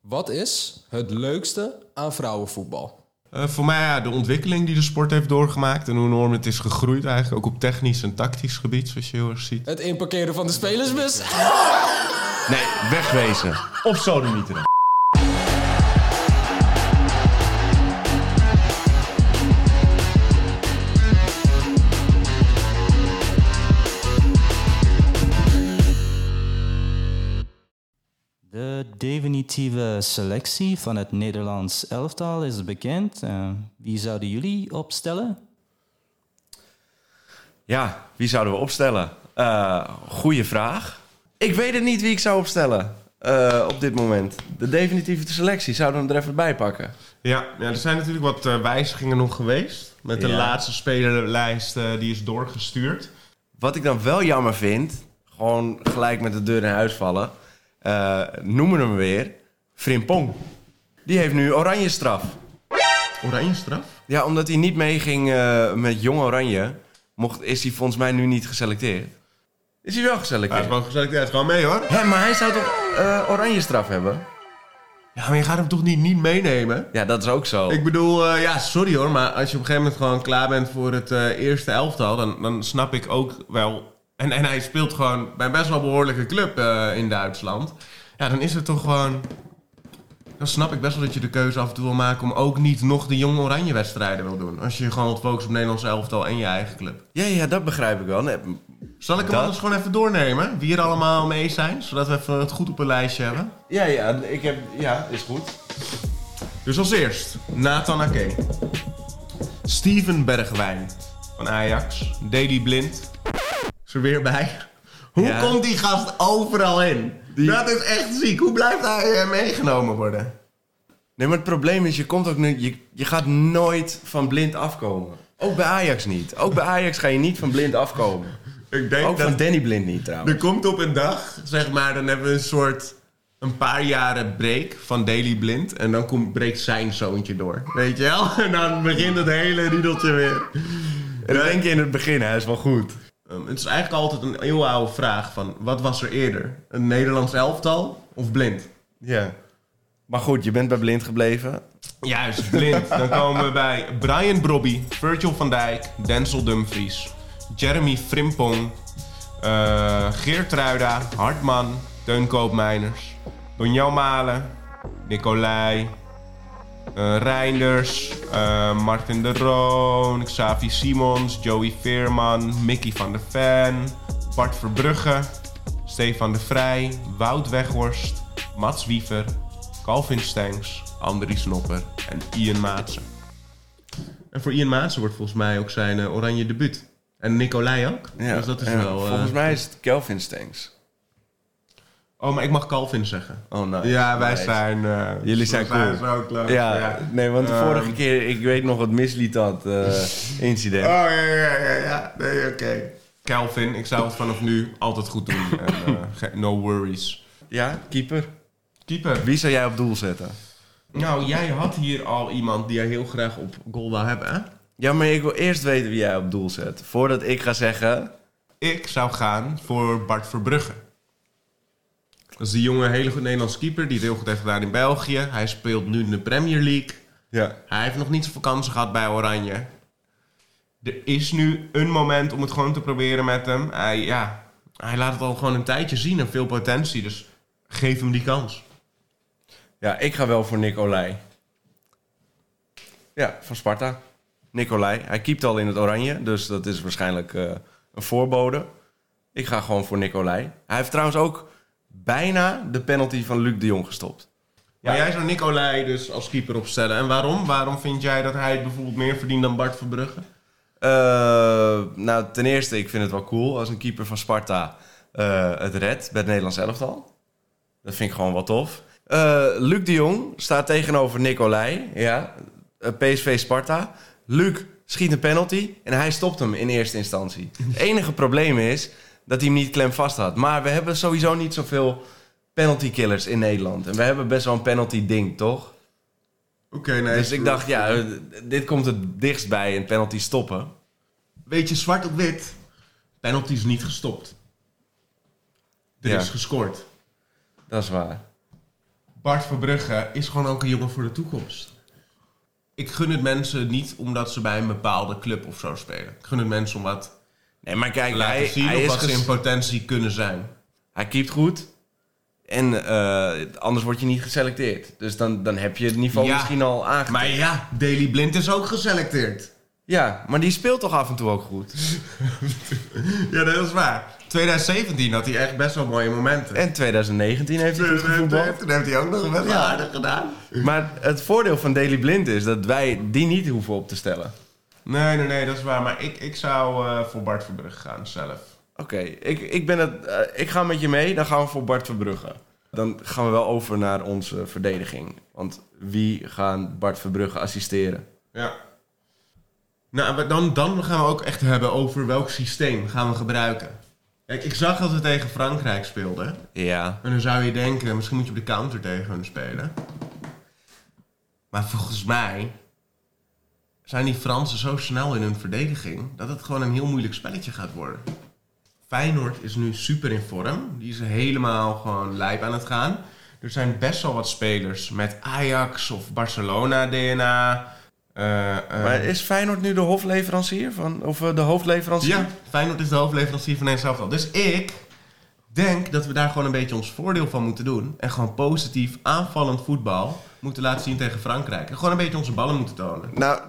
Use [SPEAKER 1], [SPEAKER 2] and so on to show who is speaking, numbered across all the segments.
[SPEAKER 1] Wat is het leukste aan vrouwenvoetbal?
[SPEAKER 2] Eh, voor mij ja, de ontwikkeling die de sport heeft doorgemaakt en hoe enorm het is gegroeid eigenlijk. Ook op technisch en tactisch gebied, zoals je heel erg ziet.
[SPEAKER 1] Het inparkeren van de spelersbus.
[SPEAKER 3] Nee, wegwezen.
[SPEAKER 2] Op sodomieteren.
[SPEAKER 4] De definitieve selectie van het Nederlands elftal is bekend. Eh, wie zouden jullie opstellen?
[SPEAKER 3] Ja, wie zouden we opstellen? Eh goeie vraag. Ik weet het niet wie ik zou opstellen eh, op dit moment. De definitieve selectie zouden we hem er even bij pakken.
[SPEAKER 2] Ja, ja, er zijn natuurlijk wat eh, wijzigingen nog geweest. Met de
[SPEAKER 3] Ja.
[SPEAKER 2] laatste spelerlijst eh, die is doorgestuurd.
[SPEAKER 3] Wat ik dan wel jammer vind, gewoon gelijk met de deur in huis vallen. eh, noemen we hem weer, Frimpong. Die heeft nu oranje straf.
[SPEAKER 2] Oranje straf?
[SPEAKER 3] Ja, omdat hij niet meeging eh, met Jong Oranje, mocht, is hij volgens mij nu niet geselecteerd. Is hij wel
[SPEAKER 2] Ja, het is
[SPEAKER 3] geselecteerd?
[SPEAKER 2] wel gezellig. Ja, het is gewoon mee hoor.
[SPEAKER 3] Hé, maar hij zou toch eh, oranje straf hebben?
[SPEAKER 2] Ja, maar je gaat hem toch niet, niet meenemen?
[SPEAKER 3] Ja, dat is ook zo.
[SPEAKER 2] Ik bedoel, eh, ja, sorry hoor, maar als je op een gegeven moment gewoon klaar bent voor het eh, eerste elftal, dan, dan snap ik ook wel. En, en hij speelt gewoon bij een best wel behoorlijke club eh, in Duitsland. Ja, dan is het toch gewoon. Dan snap ik best wel dat je de keuze af en toe wil maken om ook niet nog de jonge oranje wedstrijden wil doen. Als je gewoon wilt focussen op Nederlands elftal en je eigen club.
[SPEAKER 3] Ja, ja, dat begrijp ik wel. Nee,
[SPEAKER 2] Zal ik hem
[SPEAKER 3] Dat-
[SPEAKER 2] anders gewoon even doornemen? Wie er allemaal mee zijn, zodat we even het goed op een lijstje hebben.
[SPEAKER 3] Ja, ja, ik heb, ja, is goed.
[SPEAKER 2] Dus als eerst Nathan Ake. Steven Bergwijn van Ajax. Daley Blind. Is er weer bij. Hoe
[SPEAKER 3] Ja.
[SPEAKER 2] komt die gast overal in?
[SPEAKER 3] Die-
[SPEAKER 2] Dat is echt ziek. Hoe blijft hij eh, meegenomen worden?
[SPEAKER 3] Nee, maar het probleem is, je komt ook nu, je, je gaat nooit van blind afkomen. Ook bij Ajax niet. Ook bij Ajax ga je niet van blind afkomen.
[SPEAKER 2] Ik denk
[SPEAKER 3] Ook van Danny Blind niet trouwens.
[SPEAKER 2] Er komt op een dag, zeg maar, dan hebben we een soort... Een paar jaren break van Daily Blind. En dan komt, breekt zijn zoontje door. Weet je wel? En dan begint het hele riedeltje weer.
[SPEAKER 3] En dan denk je in het begin, hij is wel goed.
[SPEAKER 2] Ehm, het is eigenlijk altijd een eeuwenoude vraag van... Wat was er eerder? Een Nederlands elftal of blind?
[SPEAKER 3] Ja. Maar goed, je bent bij blind gebleven.
[SPEAKER 2] Juist, blind. Dan komen we bij Brian Brobby, Virgil van Dijk, Denzel Dumfries, Jeremy Frimpong, eh Geert Ruida, Hartman, Teun Koopmeiners, Donjel Malen, Nicolai, eh, Reinders, eh, Martin de Roon, Xavi Simons, Joey Veerman, Mickey van der Ven, Bart Verbrugge, Stefan de Vrij, Wout Weghorst, Mats Wiever, Calvin Stengs, Andries Nopper en Ian Maatsen. En voor Ian Maatsen wordt volgens mij ook zijn eh, oranje debuut. En Nicolai ook. dus dat is
[SPEAKER 3] Ja.
[SPEAKER 2] wel... eh,
[SPEAKER 3] Volgens mij is het Kelvin Stengs.
[SPEAKER 2] Oh, maar ik mag Calvin zeggen.
[SPEAKER 3] Oh, nice.
[SPEAKER 2] Ja, wij
[SPEAKER 3] Nice.
[SPEAKER 2] zijn... eh,
[SPEAKER 3] Jullie zijn
[SPEAKER 2] we
[SPEAKER 3] cool.
[SPEAKER 2] zo close,
[SPEAKER 3] Ja,
[SPEAKER 2] ja.
[SPEAKER 3] nee, want de
[SPEAKER 2] Ehm,
[SPEAKER 3] vorige keer, ik weet nog wat misliet dat eh, incident.
[SPEAKER 2] Oh, ja, ja, ja, ja. Nee, oké. Calvin, ik zou het vanaf nu altijd goed doen. En, eh, ge- no worries.
[SPEAKER 3] Ja, keeper.
[SPEAKER 2] Keeper.
[SPEAKER 3] Wie zou jij op doel zetten?
[SPEAKER 2] Nou, jij had hier al iemand die jij heel graag op goal wou hebben, hè?
[SPEAKER 3] Ja, maar ik wil eerst weten wie jij op doel zet. Voordat ik ga zeggen...
[SPEAKER 2] Ik zou gaan voor Bart Verbrugge. Dat is die jonge, hele goed Nederlandse keeper die het heel goed heeft gedaan in België. Hij speelt nu in de Premier League.
[SPEAKER 3] Ja.
[SPEAKER 2] Hij heeft nog niet zijn vakantie gehad bij Oranje. Er is nu een moment om het gewoon te proberen met hem. Hij, ja, hij laat het al gewoon een tijdje zien en veel potentie. Dus geef hem die kans.
[SPEAKER 3] Ja, ik ga wel voor Nicolai. Ja, van Sparta. Nicolai. Hij keept al in het oranje, dus dat is waarschijnlijk eh, een voorbode. Ik ga gewoon voor Nicolai. Hij heeft trouwens ook bijna de penalty van Luc de Jong gestopt.
[SPEAKER 2] Maar jij zou Nicolai dus als keeper opstellen. En waarom? Waarom vind jij dat hij het bijvoorbeeld meer verdient dan Bart Verbrugge?
[SPEAKER 3] Eh, nou, ten eerste, ik vind het wel cool als een keeper van Sparta eh, het redt bij het Nederlands elftal. Dat vind ik gewoon wel tof. Eh, Luc de Jong staat tegenover Nicolai, ja, eh, PSV Sparta. Luc schiet een penalty en hij stopt hem in eerste instantie. Het enige probleem is dat hij hem niet klem vast had. Maar we hebben sowieso niet zoveel penalty killers in Nederland. En we hebben best wel een penalty ding, toch?
[SPEAKER 2] Oké, nee.
[SPEAKER 3] dus ik dacht, ja, eh, dit komt het dichtst bij een penalty stoppen.
[SPEAKER 2] Weet je, zwart op wit. Penalty is niet gestopt. Er
[SPEAKER 3] Ja.
[SPEAKER 2] is gescoord.
[SPEAKER 3] Dat is waar.
[SPEAKER 2] Bart Verbrugge is gewoon ook een jongen voor de toekomst. Ik gun het mensen niet omdat ze bij een bepaalde club of zo spelen. Ik gun het mensen om wat
[SPEAKER 3] Nee, maar kijk,
[SPEAKER 2] te laten
[SPEAKER 3] hij,
[SPEAKER 2] zien
[SPEAKER 3] hij,
[SPEAKER 2] of
[SPEAKER 3] is
[SPEAKER 2] wat ze
[SPEAKER 3] ges-
[SPEAKER 2] in potentie kunnen zijn.
[SPEAKER 3] hij keept goed. En eh, anders word je niet geselecteerd. Dus dan, dan heb je het niveau
[SPEAKER 2] Ja.
[SPEAKER 3] misschien al aangetikt.
[SPEAKER 2] Maar ja, Daily Blind is ook geselecteerd.
[SPEAKER 3] Ja, maar die speelt toch af en toe ook goed.
[SPEAKER 2] Ja, dat is waar. 2017 had hij echt best wel mooie momenten.
[SPEAKER 3] En 2019 heeft hij goed gevoetbald.
[SPEAKER 2] Toen heeft hij ook nog wel aardig gedaan.
[SPEAKER 3] Maar het voordeel van Daily Blind is dat wij die niet hoeven op te stellen.
[SPEAKER 2] Nee, nee, nee, dat is waar. Maar ik, ik zou eh, voor Bart Verbrugge gaan zelf.
[SPEAKER 3] Oké, ik, ik, ben het, eh, ik ga met je mee, dan gaan we voor Bart Verbrugge. Dan gaan we wel over naar onze verdediging. Want wie gaan Bart Verbrugge assisteren?
[SPEAKER 2] Ja. Nou, maar dan, dan gaan we ook echt hebben over welk systeem gaan we gebruiken. Kijk, ik zag dat we tegen Frankrijk speelden.
[SPEAKER 3] Ja.
[SPEAKER 2] En dan zou je denken, misschien moet je op de counter tegen hun spelen. Maar volgens mij zijn die Fransen zo snel in hun verdediging dat het gewoon een heel moeilijk spelletje gaat worden. Feyenoord is nu super in vorm. Die is helemaal gewoon lijp aan het gaan. Er zijn best wel wat spelers met Ajax of Barcelona DNA. Eh, eh,
[SPEAKER 3] Maar is Feyenoord nu de hofleverancier van, of eh, de hoofdleverancier?
[SPEAKER 2] ja, Feyenoord is de hoofdleverancier van Nederlands elftal. Dus ik denk dat we daar gewoon een beetje ons voordeel van moeten doen. En gewoon positief aanvallend voetbal moeten laten zien tegen Frankrijk. En gewoon een beetje onze ballen moeten tonen.
[SPEAKER 3] Nou,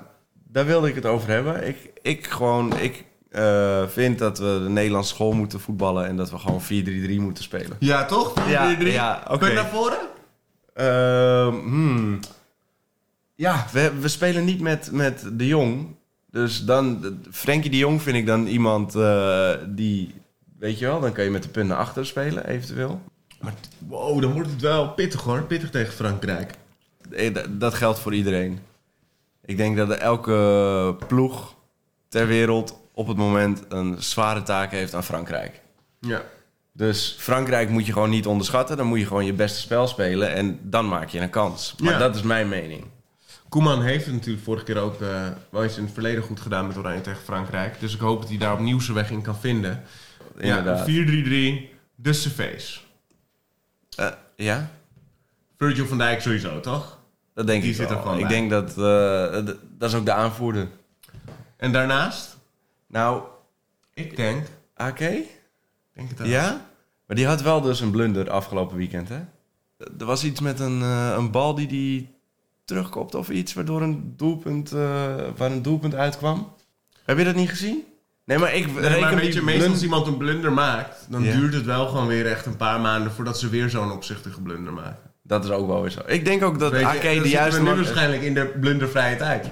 [SPEAKER 3] daar wilde ik het over hebben. Ik, ik, gewoon, ik eh, vind dat we de Nederlandse school moeten voetballen en dat we gewoon 4-3-3 moeten spelen.
[SPEAKER 2] Ja, toch?
[SPEAKER 3] Ja,
[SPEAKER 2] 4-3-3.
[SPEAKER 3] ja, oké.
[SPEAKER 2] Kun je naar voren?
[SPEAKER 3] Ehm, hmm. Ja, we, we spelen niet met, met De Jong. Dus dan, Frenkie De Jong vind ik dan iemand eh, die, weet je wel, dan kan je met de punten achter spelen eventueel.
[SPEAKER 2] Maar t- wow, dan wordt het wel pittig hoor. Pittig tegen Frankrijk.
[SPEAKER 3] Eh, d- Dat geldt voor iedereen. Ik denk dat elke ploeg ter wereld op het moment een zware taak heeft aan Frankrijk.
[SPEAKER 2] Ja.
[SPEAKER 3] Dus Frankrijk moet je gewoon niet onderschatten. Dan moet je gewoon je beste spel spelen en dan maak je een kans. Maar
[SPEAKER 2] Ja.
[SPEAKER 3] dat is mijn mening.
[SPEAKER 2] Koeman heeft het natuurlijk vorige keer ook eh, wel eens in het verleden goed gedaan met Oranje tegen Frankrijk. Dus ik hoop dat hij daar opnieuw zijn weg in kan vinden. Ja,
[SPEAKER 3] Inderdaad.
[SPEAKER 2] 4-3-3, de Cervais.
[SPEAKER 3] Eh, ja?
[SPEAKER 2] Virgil van Dijk sowieso, toch?
[SPEAKER 3] Dat denk
[SPEAKER 2] Die
[SPEAKER 3] ik
[SPEAKER 2] zit er
[SPEAKER 3] wel.
[SPEAKER 2] gewoon
[SPEAKER 3] Ik
[SPEAKER 2] bij.
[SPEAKER 3] denk dat... eh, d- dat is ook de aanvoerder.
[SPEAKER 2] En daarnaast?
[SPEAKER 3] Nou,
[SPEAKER 2] Ik denk.
[SPEAKER 3] AK?
[SPEAKER 2] denk het ook.
[SPEAKER 3] Ja? Maar die had wel dus een blunder afgelopen weekend, hè? D- Er was iets met een, eh, een bal die die terugkopte of iets... waardoor een doelpunt, eh, waar een doelpunt uitkwam. Heb je dat niet gezien? Nee, maar ik
[SPEAKER 2] Nee, maar
[SPEAKER 3] reken
[SPEAKER 2] weet
[SPEAKER 3] die
[SPEAKER 2] je, meestal als
[SPEAKER 3] blund-
[SPEAKER 2] iemand een blunder maakt, dan
[SPEAKER 3] Ja.
[SPEAKER 2] duurt het wel gewoon weer echt een paar maanden voordat ze weer zo'n opzichtige blunder maken.
[SPEAKER 3] Dat is ook wel weer zo. Ik denk ook dat
[SPEAKER 2] Weet je,
[SPEAKER 3] AK
[SPEAKER 2] dan
[SPEAKER 3] de
[SPEAKER 2] zitten
[SPEAKER 3] juiste...
[SPEAKER 2] we nu
[SPEAKER 3] man-
[SPEAKER 2] waarschijnlijk in de blundervrije tijd.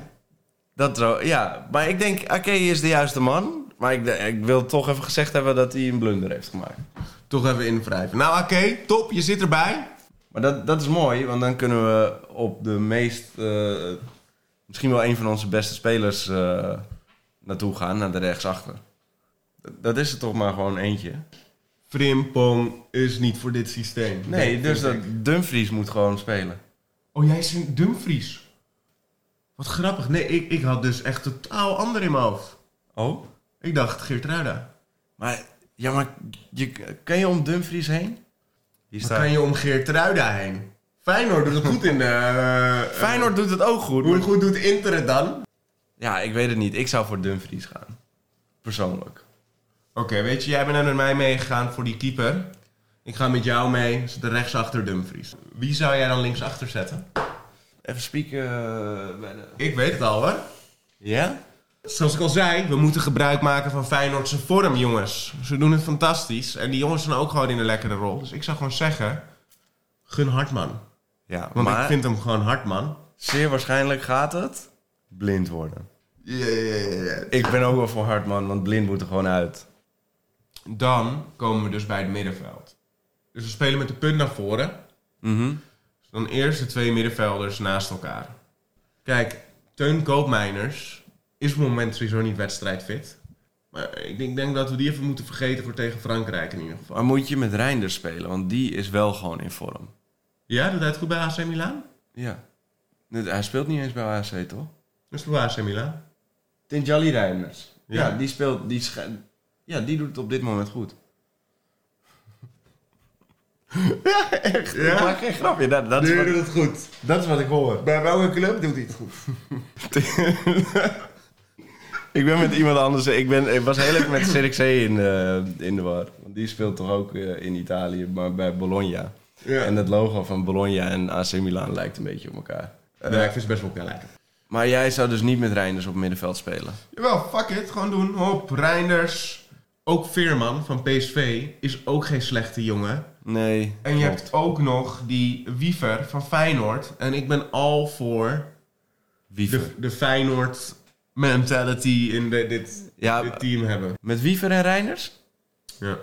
[SPEAKER 3] Dat er ook- ja, maar ik denk AK is de juiste man. Maar ik, ik wil toch even gezegd hebben dat hij een blunder heeft gemaakt.
[SPEAKER 2] Toch even invrijven. Nou, oké, top, je zit erbij.
[SPEAKER 3] Maar dat, dat is mooi, want dan kunnen we op de meest. eh, misschien wel een van onze beste spelers eh, naartoe gaan, naar de rechtsachter. Dat, dat is er toch maar gewoon eentje.
[SPEAKER 2] Frimpong is niet voor dit systeem.
[SPEAKER 3] Nee, dus
[SPEAKER 2] vind
[SPEAKER 3] dat
[SPEAKER 2] ik.
[SPEAKER 3] Dumfries moet gewoon spelen.
[SPEAKER 2] Oh, jij is een Dumfries. Wat grappig. Nee, ik, ik had dus echt totaal ander in mijn hoofd.
[SPEAKER 3] Oh?
[SPEAKER 2] Ik dacht Geertruida.
[SPEAKER 3] Maar, ja, maar je, kan je om Dumfries heen? Hier
[SPEAKER 2] Dan kan je om Geertruida heen. Feyenoord doet het goed in de... eh, eh,
[SPEAKER 3] Feyenoord doet het ook goed.
[SPEAKER 2] Hoe
[SPEAKER 3] maar-
[SPEAKER 2] goed doet Inter het dan? Oké,
[SPEAKER 3] Ja, ik weet het niet. Ik zou voor Dumfries gaan. Persoonlijk.
[SPEAKER 2] weet je, jij bent net met mij meegegaan voor die keeper. Ik ga met jou mee, dus de rechtsachter Dumfries. Wie zou jij dan linksachter zetten?
[SPEAKER 3] Even spieken eh, bij de...
[SPEAKER 2] Ik weet het al hoor.
[SPEAKER 3] Ja?
[SPEAKER 2] Zoals ik al zei, we moeten gebruik maken van Feyenoordse vorm, jongens. Ze doen het fantastisch. En die jongens zijn ook gewoon in een lekkere rol. Dus ik zou gewoon zeggen, gun Hartman.
[SPEAKER 3] Ja,
[SPEAKER 2] Want
[SPEAKER 3] maar
[SPEAKER 2] ik vind hem gewoon Hartman.
[SPEAKER 3] zeer waarschijnlijk gaat het blind worden.
[SPEAKER 2] Ja, ja, ja, ja.
[SPEAKER 3] Ik ben ook wel voor Hartman, want blind moet er gewoon uit.
[SPEAKER 2] Dan komen we dus bij het middenveld. Dus we spelen met de punt naar voren.
[SPEAKER 3] Mhm.
[SPEAKER 2] Dus dan eerst de twee middenvelders naast elkaar. Kijk, Teun Koopmeiners is op het moment sowieso niet wedstrijdfit. Maar ik denk, denk dat we die even moeten vergeten voor tegen Frankrijk in ieder geval.
[SPEAKER 3] Maar moet je met Reinders spelen, want die is wel gewoon in vorm.
[SPEAKER 2] Ja, doet hij het goed bij AC Milan?
[SPEAKER 3] Ja. Nee, Hij speelt niet eens bij AFC, toch?
[SPEAKER 2] Dus voor AC Milan.
[SPEAKER 3] Tinjali Reinders. Ja,
[SPEAKER 2] Ja.
[SPEAKER 3] die speelt... Die scha- ja, die doet het op dit moment goed.
[SPEAKER 5] Ja, echt.
[SPEAKER 3] Ja?
[SPEAKER 5] Ik maak geen
[SPEAKER 3] geen
[SPEAKER 5] grap.
[SPEAKER 3] grapje. Dat, dat is
[SPEAKER 5] Nu
[SPEAKER 3] wat-
[SPEAKER 5] doet het goed.
[SPEAKER 3] dat is wat ik hoor.
[SPEAKER 5] Bij welke club doet hij het goed?
[SPEAKER 3] Ik ben met iemand anders. Ik, ben, ik was heel even met Cirque C in, eh, in de war. Want die speelt toch ook eh, in Italië, maar bij Bologna.
[SPEAKER 5] Ja.
[SPEAKER 3] En het logo van Bologna en AC Milan lijkt een beetje op elkaar. Eh,
[SPEAKER 2] nou,
[SPEAKER 5] nee, ik vind ze best wel op elkaar lijken.
[SPEAKER 3] Maar jij zou dus niet met Reinders op middenveld spelen.
[SPEAKER 2] Jawel, fuck it. Gewoon doen. Hop, Reinders. Ook Veerman van PSV is ook geen slechte jongen.
[SPEAKER 3] Nee.
[SPEAKER 2] En je
[SPEAKER 3] klopt.
[SPEAKER 2] hebt ook nog die Wiever van Feyenoord. En ik ben al voor
[SPEAKER 3] Wiever.
[SPEAKER 2] de, de Feyenoord mentality in de- dit,
[SPEAKER 3] Ja,
[SPEAKER 2] dit team hebben.
[SPEAKER 3] met Wiever en Reinders?
[SPEAKER 2] Ja?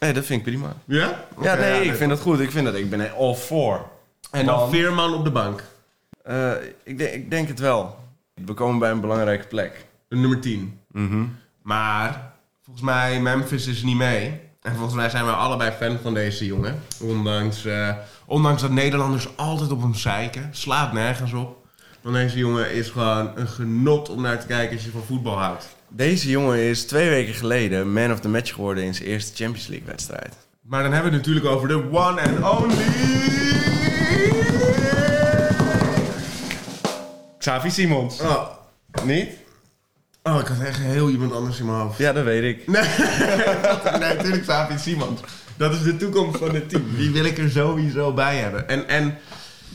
[SPEAKER 3] Nee, dat vind ik prima.
[SPEAKER 2] Ja? Oké,
[SPEAKER 3] ja, nee,
[SPEAKER 2] leuk.
[SPEAKER 3] ik vind dat goed. Ik vind dat. Ik ben all for.
[SPEAKER 2] En dan
[SPEAKER 3] Want-
[SPEAKER 2] Veerman op de bank.
[SPEAKER 3] Eh, ik, denk- ik denk het wel. We komen bij een belangrijke plek.
[SPEAKER 2] De nummer 10.
[SPEAKER 3] Mhm.
[SPEAKER 2] Maar volgens mij, Memphis is niet mee. En volgens mij zijn we allebei fan van deze jongen. Ondanks, eh, ondanks dat Nederlanders altijd op hem zeiken. Slaat nergens op. Want deze jongen is gewoon een genot om naar te kijken als je van voetbal houdt.
[SPEAKER 3] Deze jongen is twee weken geleden man of the match geworden in zijn eerste Champions League wedstrijd.
[SPEAKER 2] Maar dan hebben we het natuurlijk over de one and only...
[SPEAKER 3] Xavi Simons.
[SPEAKER 2] Oh,
[SPEAKER 3] Niet?
[SPEAKER 2] oh ik had echt heel iemand anders in mijn hoofd.
[SPEAKER 3] Ja, dat weet ik.
[SPEAKER 2] Nee, natuurlijk Xavi Simons. Dat is de toekomst van het team. Die wil ik er sowieso bij hebben. En, en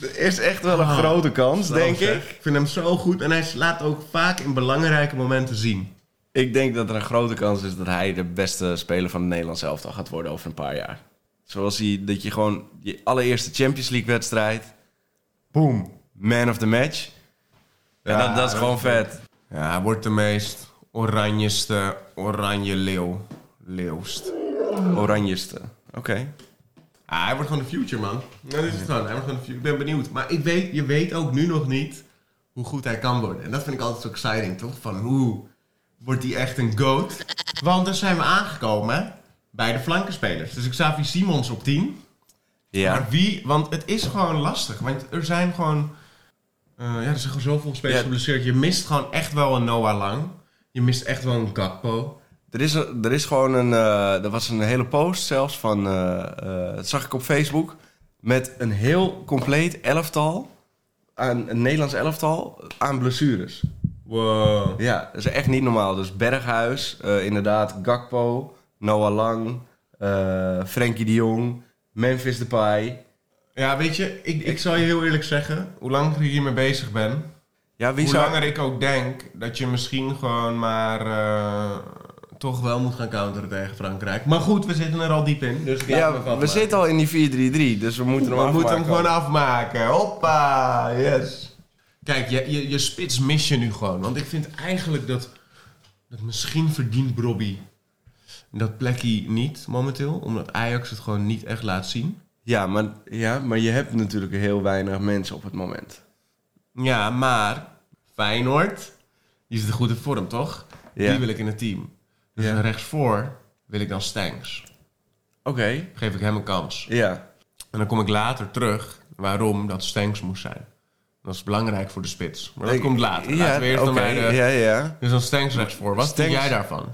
[SPEAKER 3] Er is echt wel een
[SPEAKER 2] Ah,
[SPEAKER 3] grote kans, denk
[SPEAKER 2] Wel,
[SPEAKER 3] ik.
[SPEAKER 2] zeg. Ik vind hem zo goed en hij laat ook vaak in belangrijke momenten zien.
[SPEAKER 3] Ik denk dat er een grote kans is dat hij de beste speler van het Nederlands elftal gaat worden over een paar jaar. Zoals hij, dat je gewoon je allereerste Champions League wedstrijd. Boom. Man of the match. Ja,
[SPEAKER 2] Ja,
[SPEAKER 3] dat, dat is
[SPEAKER 2] dat
[SPEAKER 3] gewoon
[SPEAKER 2] is
[SPEAKER 3] vet.
[SPEAKER 2] Ja, hij wordt de meest oranjeste oranje leeuw. Leeuwst.
[SPEAKER 3] Oranjeste. Oké.
[SPEAKER 2] Ah, hij wordt gewoon de future, man. Dat is het gewoon. Hij wordt gewoon de future. Ik ben benieuwd. Maar ik weet, je weet ook nu nog niet hoe goed hij kan worden. En dat vind ik altijd zo exciting, toch? Van hoe wordt hij echt een goat? Want dan zijn we aangekomen bij de flankenspelers. Dus ik Xavi Simons op 10.
[SPEAKER 3] Ja.
[SPEAKER 2] Maar wie? Want het is gewoon lastig. Want er zijn gewoon... eh, ja, er zijn gewoon zoveel spelers
[SPEAKER 3] Ja.
[SPEAKER 2] geblesseerd. Je mist gewoon echt wel een Noah Lang. Je mist echt wel een Gakpo.
[SPEAKER 3] Er is, er is gewoon een. eh, er was een hele post zelfs van. eh, eh, dat zag ik op Facebook. Met een heel compleet elftal. Aan, een Nederlands elftal aan blessures.
[SPEAKER 2] Wow.
[SPEAKER 3] Ja, dat is echt niet normaal. Dus Berghuis, eh, inderdaad, Gakpo, Noah Lang, eh, Frenkie de Jong, Memphis Depay.
[SPEAKER 2] Ja, weet je, ik, ik zal je heel eerlijk zeggen... hoe langer ik hiermee bezig ben...
[SPEAKER 3] Ja, wie
[SPEAKER 2] Hoe
[SPEAKER 3] zou...
[SPEAKER 2] langer ik ook denk dat je misschien gewoon maar eh, toch wel moet gaan counteren tegen Frankrijk. Maar goed, we zitten er al diep in. Dus laten
[SPEAKER 3] Ja,
[SPEAKER 2] we,
[SPEAKER 3] we zitten al in die 4-3-3, dus we moeten hem
[SPEAKER 2] We moeten hem
[SPEAKER 3] afmaken.
[SPEAKER 2] gewoon afmaken. Hoppa, yes. Kijk, je, je, je spits mis je nu gewoon. Want ik vind eigenlijk dat, dat misschien verdient Brobby dat plekje niet momenteel. Omdat Ajax het gewoon niet echt laat zien.
[SPEAKER 3] Ja maar, ja, maar je hebt natuurlijk heel weinig mensen op het moment.
[SPEAKER 2] Ja, maar Feyenoord, die is de goede vorm, toch?
[SPEAKER 3] Ja.
[SPEAKER 2] Die wil ik in het team. Dus
[SPEAKER 3] Ja.
[SPEAKER 2] rechtsvoor wil ik dan Stanks.
[SPEAKER 3] Oké,
[SPEAKER 2] Geef ik hem een kans.
[SPEAKER 3] ja.
[SPEAKER 2] En dan kom ik later terug waarom dat Stanks moest zijn. Dat is belangrijk voor de spits. Maar dat
[SPEAKER 3] Ik-
[SPEAKER 2] komt later.
[SPEAKER 3] Ja,
[SPEAKER 2] Laten we eerst dan
[SPEAKER 3] oké,
[SPEAKER 2] bij de...
[SPEAKER 3] ja, ja.
[SPEAKER 2] Dus dan Stanks rechtsvoor. Wat denk
[SPEAKER 3] Stanks-
[SPEAKER 2] jij daarvan?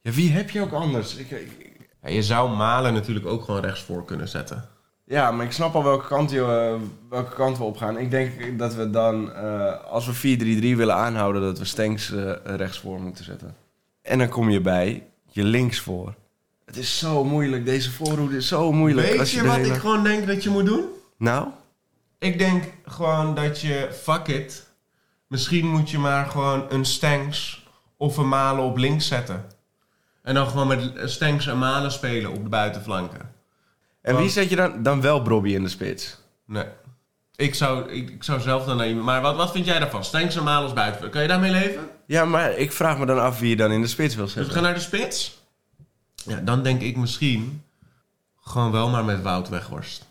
[SPEAKER 3] ja, wie heb je ook anders? Ik, ik-
[SPEAKER 2] Ja, je zou Malen natuurlijk ook gewoon rechtsvoor kunnen zetten.
[SPEAKER 3] ja, maar ik snap al welke kant, je, eh, welke kant we op gaan. Ik denk dat we dan, eh, als we 4-3-3 willen aanhouden, dat we Stenks eh, rechtsvoor moeten zetten. En dan kom je bij je linksvoor. Het is zo moeilijk, deze voorhoede is zo moeilijk.
[SPEAKER 2] Weet
[SPEAKER 3] als
[SPEAKER 2] je
[SPEAKER 3] de
[SPEAKER 2] wat
[SPEAKER 3] hele-
[SPEAKER 2] ik gewoon denk dat je moet doen?
[SPEAKER 3] Nou?
[SPEAKER 2] Ik denk gewoon dat je, fuck it. Misschien moet je maar gewoon een Stanks of een Malen op links zetten. En dan gewoon met Stanks en Malen spelen op de buitenflanken.
[SPEAKER 3] En wie
[SPEAKER 2] Want-
[SPEAKER 3] zet je dan? Dan wel Brobby in de spits.
[SPEAKER 2] Nee. Ik zou, ik, ik zou zelf dan naar iemand... Maar wat, wat vind jij daarvan? Stanks en Malen als buitenflanken. Kan je daarmee leven?
[SPEAKER 3] Ja, maar ik vraag me dan af wie je dan in de spits wil
[SPEAKER 2] Dus we
[SPEAKER 3] zetten.
[SPEAKER 2] gaan naar de spits? Ja, dan denk ik misschien gewoon wel maar met Wout Weghorst.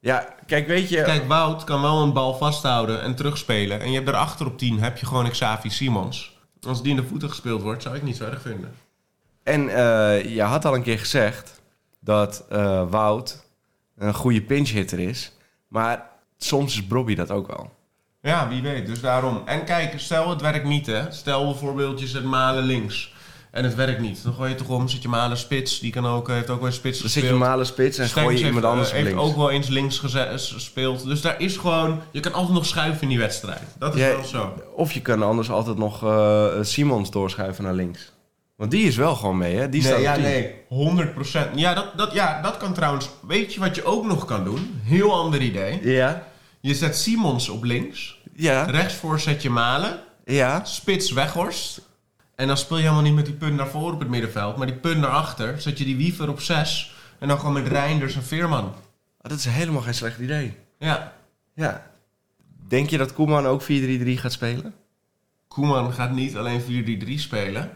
[SPEAKER 3] Ja, kijk, weet je...
[SPEAKER 2] Kijk, Wout kan wel een bal vasthouden en terugspelen. En je hebt daarachter op 10 heb je gewoon Xavi Simons. Als die in de voeten gespeeld wordt, zou ik niet zo erg vinden.
[SPEAKER 3] En eh, je had al een keer gezegd dat eh, Wout een goede pinchhitter is. Maar soms is Bobby dat ook wel.
[SPEAKER 2] Ja, wie weet. Dus daarom. En kijk, stel het werkt niet, hè. Stel bijvoorbeeld je zet Malen links. En het werkt niet. Dan gooi je toch om, zet je malen spits. Die kan ook, eh, heeft ook wel eens spits
[SPEAKER 3] Dan zit je
[SPEAKER 2] gespeeld.
[SPEAKER 3] normale spits en
[SPEAKER 2] Stengs
[SPEAKER 3] gooi je
[SPEAKER 2] heeft,
[SPEAKER 3] iemand anders
[SPEAKER 2] eh,
[SPEAKER 3] op
[SPEAKER 2] heeft
[SPEAKER 3] links.
[SPEAKER 2] ook wel eens links geze- gespeeld. Dus daar is gewoon... Je kan altijd nog schuiven in die wedstrijd. Dat is
[SPEAKER 3] Ja,
[SPEAKER 2] wel zo.
[SPEAKER 3] Of je kan anders altijd nog eh, Simons doorschuiven naar links. Want die is wel gewoon mee, hè? Die
[SPEAKER 2] Nee,
[SPEAKER 3] staat op
[SPEAKER 2] ja,
[SPEAKER 3] tien.
[SPEAKER 2] nee. 100 Ja dat, dat, ja, dat kan trouwens. Weet je wat je ook nog kan doen? Heel ander idee.
[SPEAKER 3] Ja,
[SPEAKER 2] Je zet Simons op links.
[SPEAKER 3] ja,
[SPEAKER 2] Rechtsvoor zet je Malen.
[SPEAKER 3] ja.
[SPEAKER 2] Spits Weghorst. En dan speel je helemaal niet met die punt naar voren op het middenveld. Maar die punt naar achter. Zet je die Wiever op 6. En dan gewoon met Reinders en Veerman.
[SPEAKER 3] Ah, dat is helemaal geen slecht idee.
[SPEAKER 2] Ja.
[SPEAKER 3] Ja. Denk je dat Koeman ook 4-3-3 gaat spelen?
[SPEAKER 2] Koeman gaat niet alleen 4-3-3 spelen.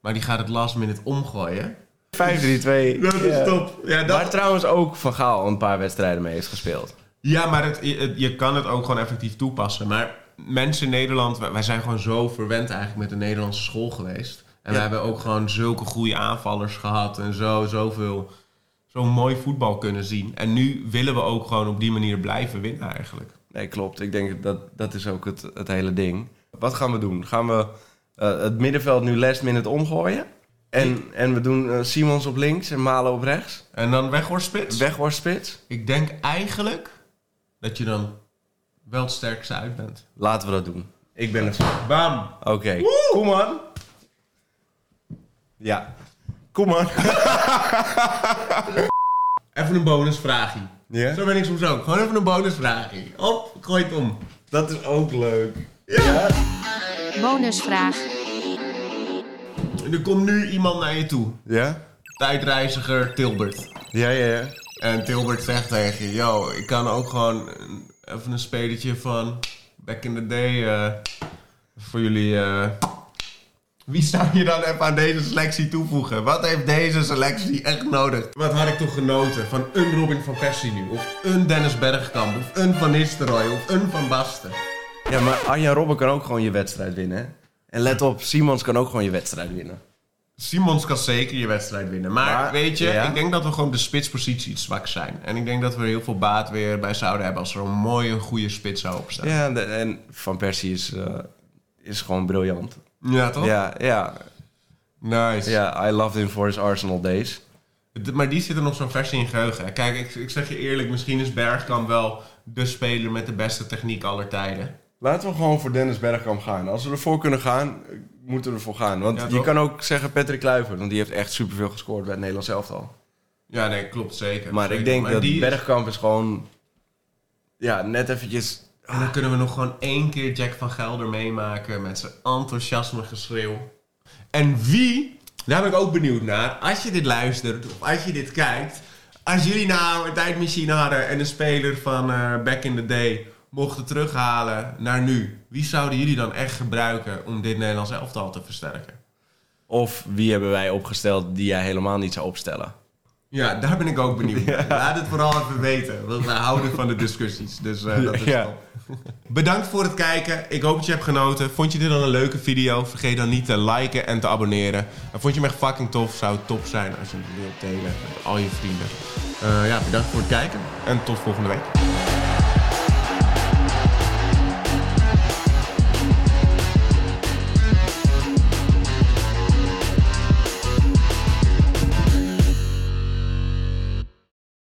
[SPEAKER 2] Maar die gaat het last minute omgooien.
[SPEAKER 3] 5-3-2. Ja.
[SPEAKER 2] top. Ja,
[SPEAKER 3] Waar trouwens ook Van Gaal een paar wedstrijden mee heeft gespeeld.
[SPEAKER 2] Ja, maar het, je- het- je kan het ook gewoon effectief toepassen. Maar mensen in Nederland, wij, wij zijn gewoon zo verwend eigenlijk met de Nederlandse school geweest. En we
[SPEAKER 3] Ja.
[SPEAKER 2] hebben ook gewoon zulke goede aanvallers gehad en zo, zoveel, zo'n mooi voetbal kunnen zien. En nu willen we ook gewoon op die manier blijven winnen eigenlijk.
[SPEAKER 3] Nee, klopt. Ik denk dat dat is ook het, het hele ding. Wat gaan we doen? Gaan we eh, het middenveld nu last minute omgooien? En, en we doen eh, Simons op links en Malen op rechts?
[SPEAKER 2] En dan Weghorst spits.
[SPEAKER 3] Wegworstspits?
[SPEAKER 2] Ik denk eigenlijk dat je dan wel het sterkste uit bent.
[SPEAKER 3] Laten we dat doen. Ik ben ervoor.
[SPEAKER 2] Bam!
[SPEAKER 3] Oké. Koeman. Ja. Koeman.
[SPEAKER 2] Even een bonusvraagje.
[SPEAKER 3] Ja?
[SPEAKER 2] Zo ben ik soms ook. Gewoon even een bonusvraagje. Op, gooi het om.
[SPEAKER 3] Dat is ook leuk.
[SPEAKER 6] Bonusvraag.
[SPEAKER 2] En er komt nu iemand naar je toe.
[SPEAKER 3] Ja?
[SPEAKER 2] tijdreiziger Tilbert.
[SPEAKER 3] Ja, ja, ja.
[SPEAKER 2] En Tilbert zegt tegen je, yo, ik kan ook gewoon een- even een spelletje van back in the day eh, voor jullie. eh." wie zou je dan even aan deze selectie toevoegen? Wat heeft deze selectie echt nodig? Wat had ik toch genoten van een Robin van Persie nu? Of een Dennis Bergkamp? Of een Van Nistelrooy? Of een Van Basten?
[SPEAKER 3] Ja, maar Arjan Robben kan ook gewoon je wedstrijd winnen. hè? En let op, Simons kan ook gewoon je wedstrijd winnen.
[SPEAKER 2] Simons kan zeker je wedstrijd winnen. Maar,
[SPEAKER 3] Maar,
[SPEAKER 2] weet je,
[SPEAKER 3] ja.
[SPEAKER 2] ik denk dat we gewoon op de spitspositie iets zwak zijn. En ik denk dat we er heel veel baat weer bij zouden hebben als er een mooie, goede spits zou opstaan. Ja,
[SPEAKER 3] Ja, de- en Van Persie is, eh, is gewoon briljant.
[SPEAKER 2] toch?
[SPEAKER 3] Ja, ja,
[SPEAKER 2] Nice.
[SPEAKER 3] ja. I loved him for his Arsenal days.
[SPEAKER 2] D- Maar die zit er nog zo'n versie in geheugen. hè. Kijk, ik, ik zeg je eerlijk, misschien is Bergkamp wel de speler met de beste techniek aller tijden.
[SPEAKER 3] Laten we gewoon voor Dennis Bergkamp gaan. Als we ervoor kunnen gaan, eh, moeten we ervoor gaan. Want
[SPEAKER 2] Ja,
[SPEAKER 3] je
[SPEAKER 2] toch?
[SPEAKER 3] kan ook zeggen Patrick Kluivert, want die heeft echt superveel gescoord bij het Nederlands elftal.
[SPEAKER 2] Ja, nee, klopt zeker.
[SPEAKER 3] Maar
[SPEAKER 2] Zeker.
[SPEAKER 3] ik denk dat
[SPEAKER 2] die is-
[SPEAKER 3] Bergkamp is gewoon... Ja, net eventjes...
[SPEAKER 2] En dan kunnen we nog gewoon één keer Jack van Gelder meemaken met zijn enthousiasme geschreeuw. En wie, daar ben ik ook benieuwd naar, als je dit luistert of als je dit kijkt. Als jullie nou een tijdmachine hadden en een speler van eh, back in the day mochten terughalen naar nu. Wie zouden jullie dan echt gebruiken om dit Nederlands elftal te versterken?
[SPEAKER 3] Of wie hebben wij opgesteld die jij helemaal niet zou opstellen?
[SPEAKER 2] Ja, daar ben ik ook benieuwd naar. Laat het vooral even weten, want we houden van de discussies. Dus eh, dat is
[SPEAKER 3] Ja.
[SPEAKER 2] top. Bedankt voor het kijken. Ik hoop dat je hebt genoten. Vond je dit dan een leuke video? Vergeet dan niet te liken en te abonneren. En vond je hem echt fucking tof? Zou het top zijn als je hem wilt delen met al je vrienden. Eh, ja, bedankt voor het kijken en tot volgende week.